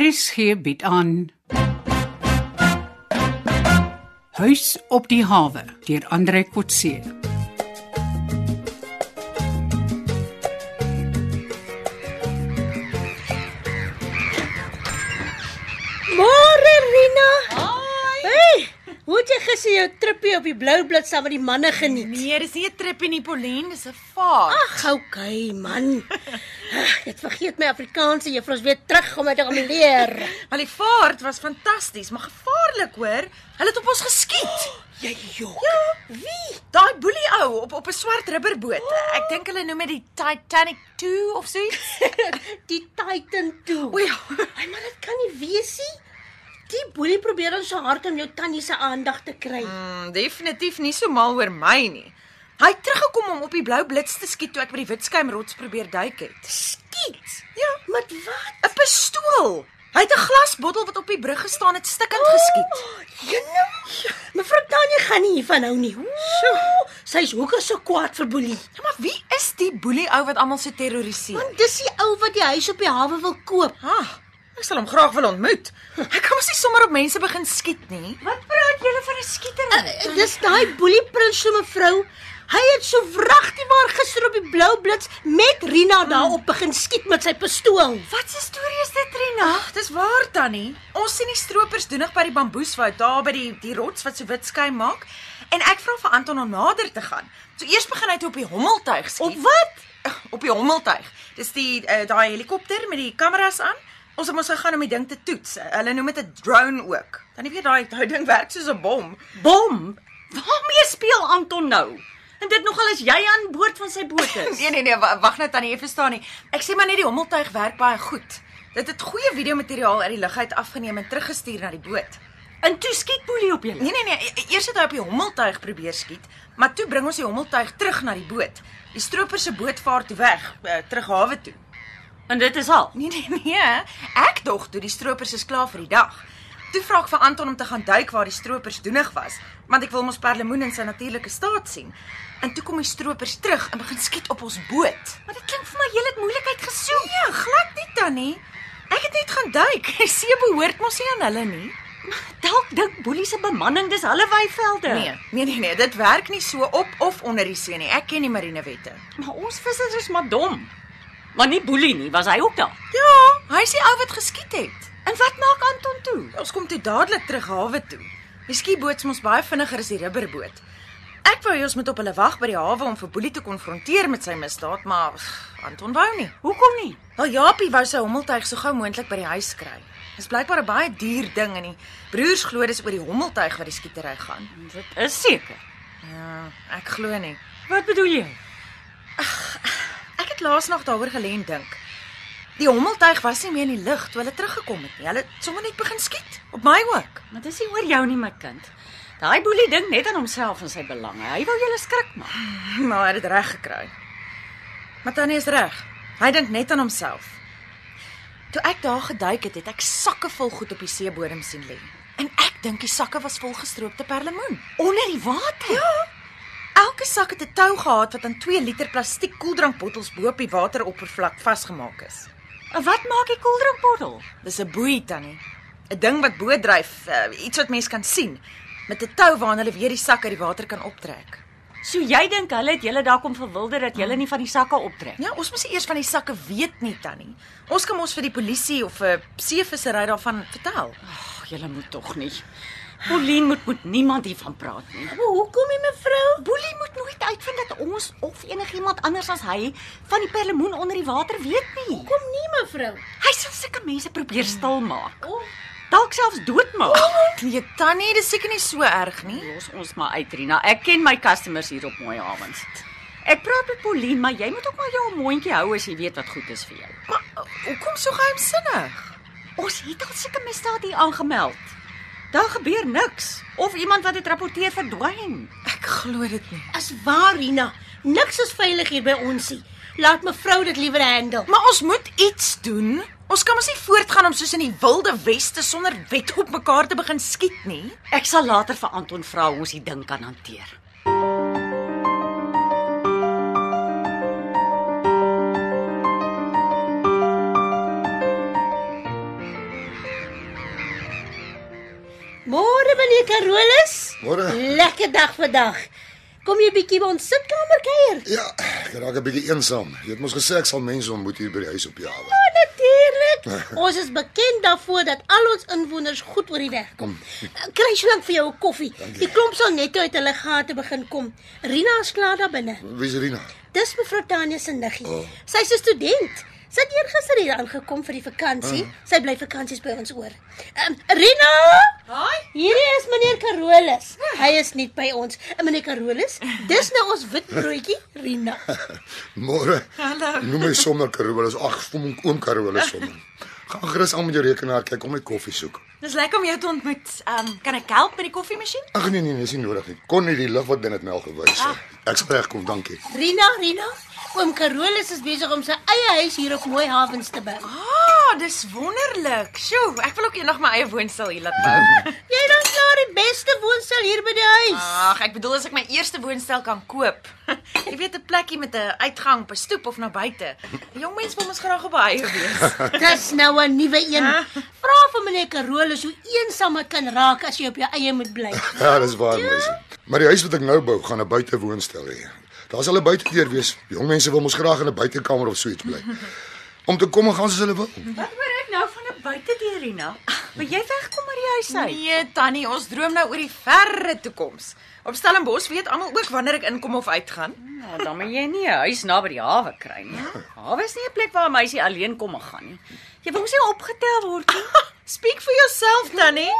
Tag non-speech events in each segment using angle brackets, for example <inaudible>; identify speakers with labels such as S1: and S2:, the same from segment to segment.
S1: RSG bied aan Huis op die hawe deur Andre Kotse.
S2: Môre Rina.
S3: Haai.
S2: Hey, hoe het jy gister jou trippie op die blou blad saam met die manne geniet?
S3: Nee, dis nie 'n trip nie, Pauline, dis 'n vaart.
S2: Ag, okay man. Ag, Dit vergeet my Afrikaanse juffrou is weer terug om my te gaan leer.
S3: Maar die vaart was fantasties, maar gevaarlik hoor. Hulle het op ons geskiet.
S2: Jy jok.
S3: Ja, wie? Daai boelie ou op op 'n swart rubberboot. Ek dink hulle noem dit die Titanic 2 of so iets.
S2: <laughs>
S3: <laughs>
S2: Die Titan toe.
S3: O ja.
S2: Ai man, dit kan nie wees nie. Die boelie probeer ons so hard om jou tannie se aandag te kry.
S3: Mm, definitief nie so mal oor my nie. Hy het teruggekom om op die blou blits te skiet toe ek by die witskuimrots probeer duik het.
S2: Skiet.
S3: Ja,
S2: Met wat?
S3: 'n pistool. Hy het 'n glasbottel wat op die brug gestaan het stikkend geskiet.
S2: Jene. Mevrou Tannie gaan nie hiervan hou nie. So, sy's hoekom so kwaad vir boelie?
S3: Ja, maar wie is die boelie ou wat almal so terroriseer?
S2: Want dis die ou wat die huis op die hawe wil koop.
S3: Ah, ek sal hom graag wil ontmoet. Ek kan mos nie sommer op mense begin skiet nie. Eh, Wat praat julle van 'n skietery?
S2: Uh, dis daai boelie prins se mevrou. Hy het so wragtig maar gister op die blou blits met Rina daarop begin skiet met sy pistool.
S3: wat se storie is dit, Rina? Ag, Ah, dis waar tannie. Ons sien die stroopers doenig by die bamboeswoud, daar by die die rots wat so wit skuim maak, en ek vra vir Anton om nader te gaan. So eers begin hy toe op die hommeltuig skiet.
S2: Op wat?
S3: Ag, Op die hommeltuig. Dis die uh, daai helikopter met die kameras aan. Ons het mos gegaan om die ding te toets. Hulle noem dit 'n drone ook. Dan weet daai daai ding werk soos 'n bom.
S4: Bom. Waarmee speel Anton nou? En dit nogal as jy aan boord van sy boot
S2: <laughs>
S4: is.
S3: <laughs> Nee nee nee, wa- wag nou tannie, jy verstaan nie. Ek sê maar net die hommeltuig werk baie goed. Dit het goeie videomateriaal uit die lug uit afgeneem en teruggestuur na die boot.
S4: En toe skiet Boelie op julle.
S3: Nee nee nee, e- eers het hy op die hommeltuig probeer skiet, maar toe bring ons die hommeltuig terug na die boot. Die stroper se boot vaar toe weg, uh, terug hawe toe.
S4: En dit is al.
S3: Nee nee nee, ek dog toe die stropers is klaar vir die dag. Toe vra ek vir Anton om te gaan duik waar die stropers doenig was, want ek wil mos perlemoen in sy natuurlike staat sien. En toe kom die stropers terug en begin skiet op ons boot. Maar dit klink vir my julle het moeilikheid gesoek. Nee, glad nie tannie. Ek het net gaan duik. Die see behoort mos nie aan hulle nie.
S4: Dalk dink Boelie se bemanning dis hulle weivelde.
S3: Nee, nee nee nee, dit werk nie so op of onder die see nie. Ek ken die marinewette.
S4: maar ons vissers is maar dom. Maar nie Boelie nie, was hy ook daar.
S3: Ja, hy is die ou wat geskiet het.
S4: En wat maak Anton toe?
S3: Ons kom toe dadelik terug hawe toe. Die skieboot is mos baie vinniger as die rubberboot. Ek wou hê ons moet op hulle wag by die hawe om vir Boelie te konfronteer met sy misdaad, maar pff, Anton wou nie.
S4: Hoekom nie?
S3: Wel Japie wou sy hommeltuig so gou moontlik by die huis kry. Dis blykbaar 'n baie duur ding en die broers glo dis oor die hommeltuig wat die skietery gaan.
S4: Dit is seker.
S3: Ja, ek glo nie.
S4: Wat bedoel jy?
S3: Ek het laas nog daaroor gelê en dink. Die hommeltuig was nie meer in die lug toe hulle teruggekom het nie. Hulle het sommer net begin skiet op my ook.
S4: Maar dis nie oor jou nie, my kind. Daai Boelie dink net aan homself en sy belange. Hy wou julle skrik maak.
S3: Maar hy het dit reg gekry. Maar Tannie is reg. Hy dink net aan homself. Toe ek daar geduik het, het ek sakke vol goed op die seebodem sien lê. En ek dink die sakke was vol gestroopte perlemoen.
S4: Onder die water. Ja.
S3: Elke sak het 'n tou gehad wat aan 2 liter plastiek koeldrankbottels bo op die wateroppervlak vasgemaak is.
S4: En wat maak die koeldrankbottel?
S3: Dis 'n boei tannie. 'n Ding wat bo dryf, uh, iets wat mens kan sien, met 'n tou waaraan hulle weer die sak uit die water kan optrek.
S4: So jy dink hulle het julle daar kom verwilder dat julle nie van die sakke optrek
S3: Ja, ons moes nie eers van die sakke weet nie, Tannie. Ons kan mos vir die polisie of 'n seevissery daarvan vertel.
S4: Ag, julle moet tog nie. Pauline moet moet niemand hiervan praat nie.
S2: Maar hoekom nie mevrou?
S4: Boelie moet nooit uitvind dat ons of enigiemand anders as hy van die perlemoen onder die water weet nie.
S2: Kom nie mevrou.
S4: Hy sal sulke mense probeer stilmaak.
S2: Oh.
S4: Dalk selfs doodmaak.
S3: Nee, Tannie, dis seker nie so erg nie.
S4: Los ons maar uit, Rina. Ek ken my customers hier op mooi avonds. Ek praat met Pauline, maar jy moet ook maar jou mondjie hou as jy weet wat goed is vir jou.
S3: Maar uh, hoekom so geheimsinnig?
S4: Ons het al sulke misdade hier aangemeld. Daar gebeur niks of iemand wat dit rapporteer verdwyn.
S3: Ek glo dit nie.
S2: As waar Rina, niks is veilig hier by ons nie. Laat mevrou dit liewer handel.
S3: Maar ons moet iets doen. Ons kan mos nie voortgaan om soos in die wilde weste sonder wet op mekaar te begin skiet nie.
S4: Ek sal later vir Anton vra hoe ons die ding kan hanteer.
S2: Môre meneer Carolus.
S5: Môre.
S2: Lekker dag vandag. Kom jy bietjie by ons sitkamer kuier?
S5: Ja, ek raak 'n bietjie eensaam. Jy het mos gesê ek sal mense ontmoet hier by die huis op die hawe.
S2: Ja, natuurlik. Ons is bekend daarvoor dat al ons inwoners goed oor die weg kom. Kry so lank vir jou 'n koffie. Die klomp sal net uit hulle gate begin kom. Rina is klaar daar binne.
S5: Wie is Rina? <laughs>
S2: Dis mevrou Tanya se niggie. Sy's 'n student. Sy het eergister hier aangekom vir die vakansie. Sy bly vakansies by ons oor. Um, Rina!
S3: Haai.
S2: Hierdie is meneer Carolus. Hy is nie by ons. En meneer Carolus, dis nou ons witbroodjie, Rina.
S5: Môre.
S3: Hallo.
S5: Noem my sommer Carolus. Ag, kom oom Carolus sommer. Gaan gerus aan met jou rekenaar kyk om my koffie soek.
S3: Dis lekker om jou te ontmoet. Ehm um, kan ek help met die koffiemasjien?
S5: Ag nee nee, nee, is nie nodig nie. Kon nie die lig wat binne het my al gewys het. Ek sal regkom, dankie. <laughs>
S2: Rina, Rina, oom Carolus is besig om sy eie huis hier op Mooi Havens te bou.
S3: Ah, dis wonderlik. Sjoe, ek wil ook eendag my eie woonstel hier laat bou.
S2: Jy dan klaar die beste woonstel hier by die huis.
S3: Ag, ek bedoel as ek my eerste woonstel kan koop. <laughs> Jy weet 'n plekkie met 'n uitgang op 'n stoep of na buite. Die Jong mense wil mos graag op 'n eie wees. <laughs>
S2: Dis nou 'n nuwe een. Vra vir meneer Carolus hoe eensaam het kan raak as jy op jou eie moet bly.
S5: Ja, dis waar mens. Maar die huis wat ek nou bou, gaan 'n buitewoonstel hê. Daar's al 'n buitedeur wees. Jong mense wil mos graag in 'n buitekamer of so iets bly. Om te kom en gaan soos hulle wil.
S4: Wat hoor ek nou van 'n buitedeur, Rina? Wil jy wegkom uit die huis uit?
S3: Nee, Tannie, ons droom nou oor die verre toekoms. Op Stellenbosch weet almal ook wanneer ek inkom of uitgaan.
S4: Ja, dan moet jy nie 'n huis naby die hawe kry nie. Hawe is nie 'n plek waar 'n meisie alleen kom en gaan nie. Jy wil mos nie opgetel word nie.
S3: Speak vir jouself, Tannie.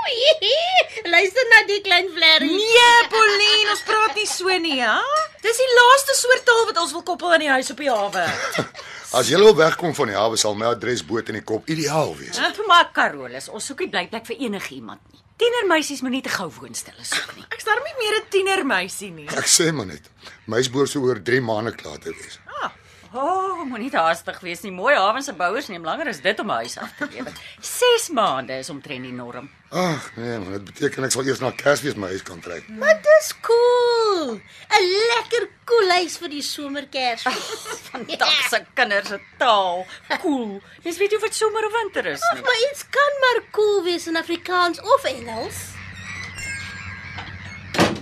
S2: Luister na die klein vlerrie.
S3: Nee, Pauline, ons praat nie so nie, hè? Dis die laaste soort taal wat ons wil koppel aan die huis op die hawe.
S5: As jy wil wegkom van die hawe sal my adres boot in die kop ideaal wees.
S4: Toe maar Carolus, ons soek nie blyplek vir enige iemand nie. Tienermeisies moenie te gou woonstelle soek nie.
S3: Ek's darm nie meer 'n tienermeisie nie.
S5: Ek sê maar net, my spoor sou oor 3 maande klaar te wees.
S4: O, oh, moenie te haastig wees nie. Mooi hawens se bouers neem langer as dit om 'n huis af te lewer. 6 maande is omtrent die norm.
S5: Ag nee, man, dit beteken ek sal eers na Kersfees my huis kan trek.
S2: Maar dis cool. 'n Lekker koel huis vir die somerkers.
S4: Dag se kinders se taal. Cool. Jy weet jy wat somer of winter is nie.
S2: Ja, Maar iets kan maar cool wees in Afrikaans of Engels.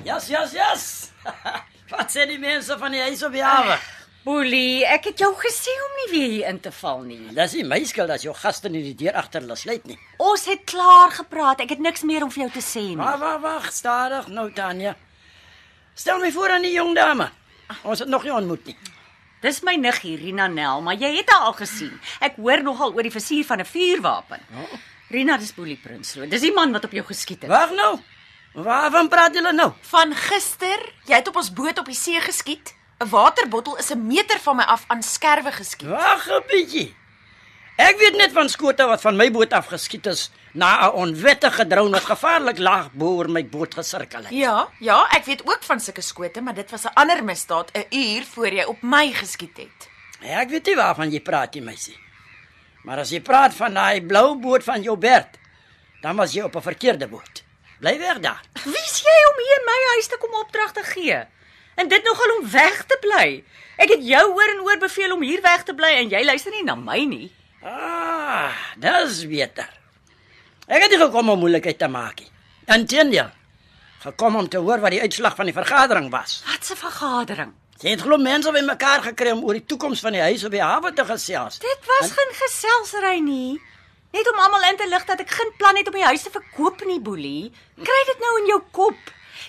S6: Jas, jas, jas. <laughs> Wat sê die mense van die huis op die hawe?
S4: Boelie, ek het jou gesê om nie weer hier in te val nie.
S6: Dis nie my skuld as jou gaste nie die deur agter laat sluit nie.
S4: Ons het klaar gepraat. Ek het niks meer om vir jou te sê nie.
S6: Wag, wag, wag, stadig nou Tanya. Stel my voor aan die jong dame. Ons het nog nie ontmoet nie.
S4: Dis my niggie Rina Nel, maar jy het haar al gesien. Ek hoor nogal oor die versier van 'n vuurwapen. Rina dis Boelie Prinsloo. Dis die man wat op jou geskiet het.
S6: Wag nou. Waarvan praat julle nou?
S3: Van gister, jy het op ons boot op die see geskiet. 'n Waterbottel is 'n meter van my af aan skerwe geskiet.
S6: Wag 'n bietjie. Ek weet net van skote wat van my boot af geskiet is na 'n onwettige drone wat gevaarlik laag bo oor my boot gesirkel het.
S3: Ja, ja, ek weet ook van sulke skote, maar dit was 'n ander misdaad 'n uur voor jy op my geskiet het.
S6: Ja, Ek weet nie waarvan jy praat nie, meisie. Maar as jy praat van daai blou boot van jou Bert, dan was jy op 'n verkeerde boot. Bly weg daar.
S4: Wie's jy om hier in my huis te kom opdrag te gee? En dit nogal om weg te bly. Ek het jou oor en oor beveel om hier weg te bly en jy luister nie na my nie.
S6: Ah, dis beter. Ek het nie gekom om moeilikheid te maak nie. Inteendeel, gekom om te hoor wat die uitslag van die vergadering was.
S4: Wat 'n vergadering.
S6: Jy het glo mense bymekaar gekry om oor die toekoms van die huis op die hawe te gesels.
S4: Dit was geen geselsry nie. Net om almal in te lig dat ek geen plan het om die huis te verkoop nie, Boelie. Kry dit nou in jou kop.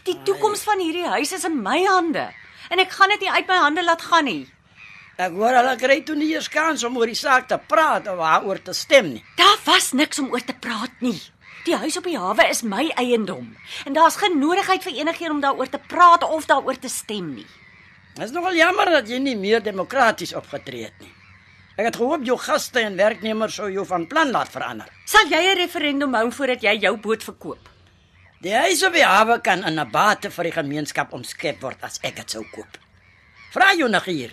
S4: Die toekoms van hierdie huis is in my hande en ek gaan dit nie uit my hande laat gaan nie.
S6: Ek hoor hulle kry toe nie eers kans om oor die saak te praat of daaroor te stem nie.
S4: Daar was niks om oor te praat nie. Die huis op die hawe is my eiendom en daar's geen nodigheid vir enigiemand om daaroor te praat of daaroor te stem nie.
S6: Dit is nogal jammer dat jy nie meer demokraties opgetree het nie. Ek het gehoop jou gaste en werknemers sou jou van plan laat verander.
S4: Sal jy 'n referendum hou voordat jy jou boot verkoop?
S6: Die huis op die hawe kan in 'n bate vir die gemeenskap omskep word as ek dit sou koop. Vra jou nog hier.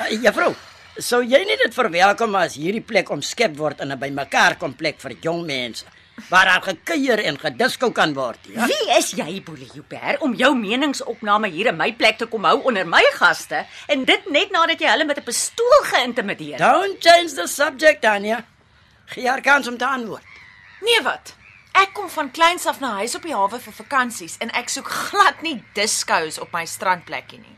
S6: Eh, Juffrou, sou jy nie dit verwelkom as hierdie plek omskep word in 'n bymekaar kom plek vir jong mense waar daar gekuier en gediskou kan word?
S4: <laughs>
S6: Ja?
S4: Wie is jy, Boelie Joubert, om jou meningsopname hier in my plek te kom hou onder my gaste en dit net nadat jy hulle met 'n pistool geïntimideer?
S6: Ja. Don't change the subject, Tanya. Gee haar kans om te antwoord.
S3: Nee wat? Ek kom van kleins af na huis op die hawe vir vakansies en ek soek glad nie diskous op my strandplekkie nie.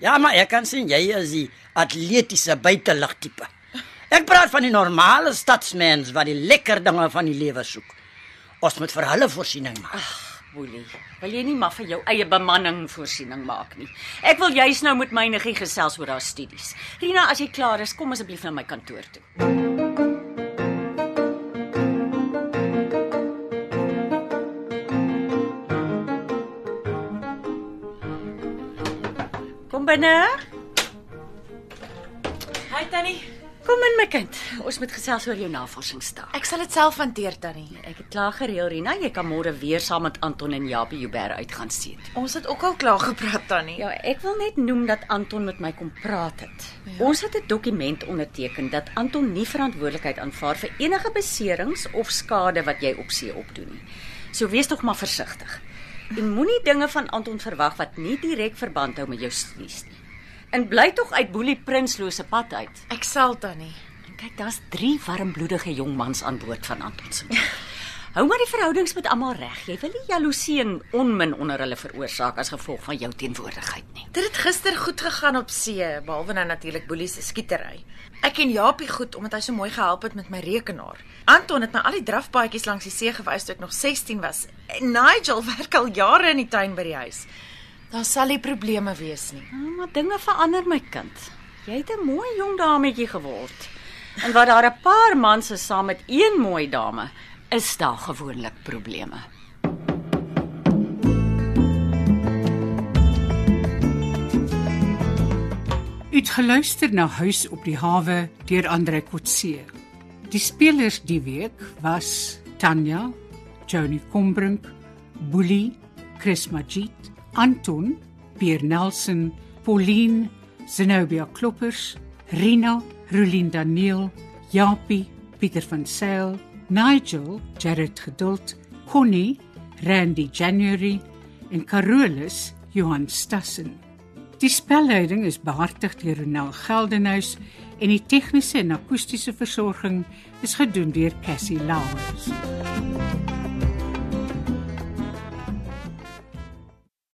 S6: Ja, maar ek kan sien jy is die atletiese buitelug tipe. Ek praat van die normale stadsmens wat die lekker dinge van die lewe soek. Ons moet vir hulle voorsiening maak.
S4: Boelie, wil jy nie maar vir jou eie bemanning voorsiening maak nie. Ek wil juis nou met my niggie gesels oor haar studies. Rina, as jy klaar is, kom asseblief na my kantoor toe. Kom binne.
S3: Hi Tannie.
S4: Kom in my kind. Ons moet gesels oor jou navorsingsdag.
S3: Ek sal dit self hanteer Tannie.
S4: Ek het klaar gereël, Rina. Jy kan môre weer saam met Anton en Japie Jubber uitgaan seet.
S3: Ons het ook al klaar gepraat Tannie.
S4: Ja, ek wil net noem dat Anton met my kom praat het. Ja. Ons het 'n dokument onderteken dat Anton nie verantwoordelikheid aanvaar vir enige beserings of skade wat jy op see opdoen nie. So wees tog maar versigtig. En moenie dinge van Anton verwag wat nie direk verband hou met jou studies nie. En bly tog uit Boelie Prinsloo se pad uit.
S3: Ek sal Tannie.
S4: En kyk, daar's drie warmbloedige jong mans aan boord van Anton se boot. Hou maar die verhoudings met almal reg. Jy wil nie jaloesie en onmin onder hulle veroorsaak as gevolg van jou teenwoordigheid nie.
S3: Dit het gister goed gegaan op see, behalwe nou natuurlik Boelie se skietery. Ek en Japie goed omdat hy so mooi gehelp het met my rekenaar. Anton het my al die drafpaadjies langs die see gewys toe ek nog 16 was. En Nigel <laughs> werk al jare in die tuin by die huis. Daar sal nie probleme wees nie.
S4: Nou, maar dinge verander my kind. Jy het 'n mooi jong dametjie geword. En wat daar 'n paar mans is saam met een mooi dame, is daar gewoonlik probleme.
S1: U het geluister na Huis op die hawe deur Andre Kotse. Die spelers die week was Tanya, Johnny Combrink, Boelie, Chris Magid, Anton, Pierre Nelson, Pauline, Zenobia Kloppers, Rina, Rulien Daniel, Japie, Pieter van Sail, Nigel, Jared Geduld, Connie, Randy January en Carolus Johan Stassen. Die spelleiding is behartig deur Ronel Geldenhuys en die tegniese en akoestiese versorging is gedoen deur Cassie Lauers.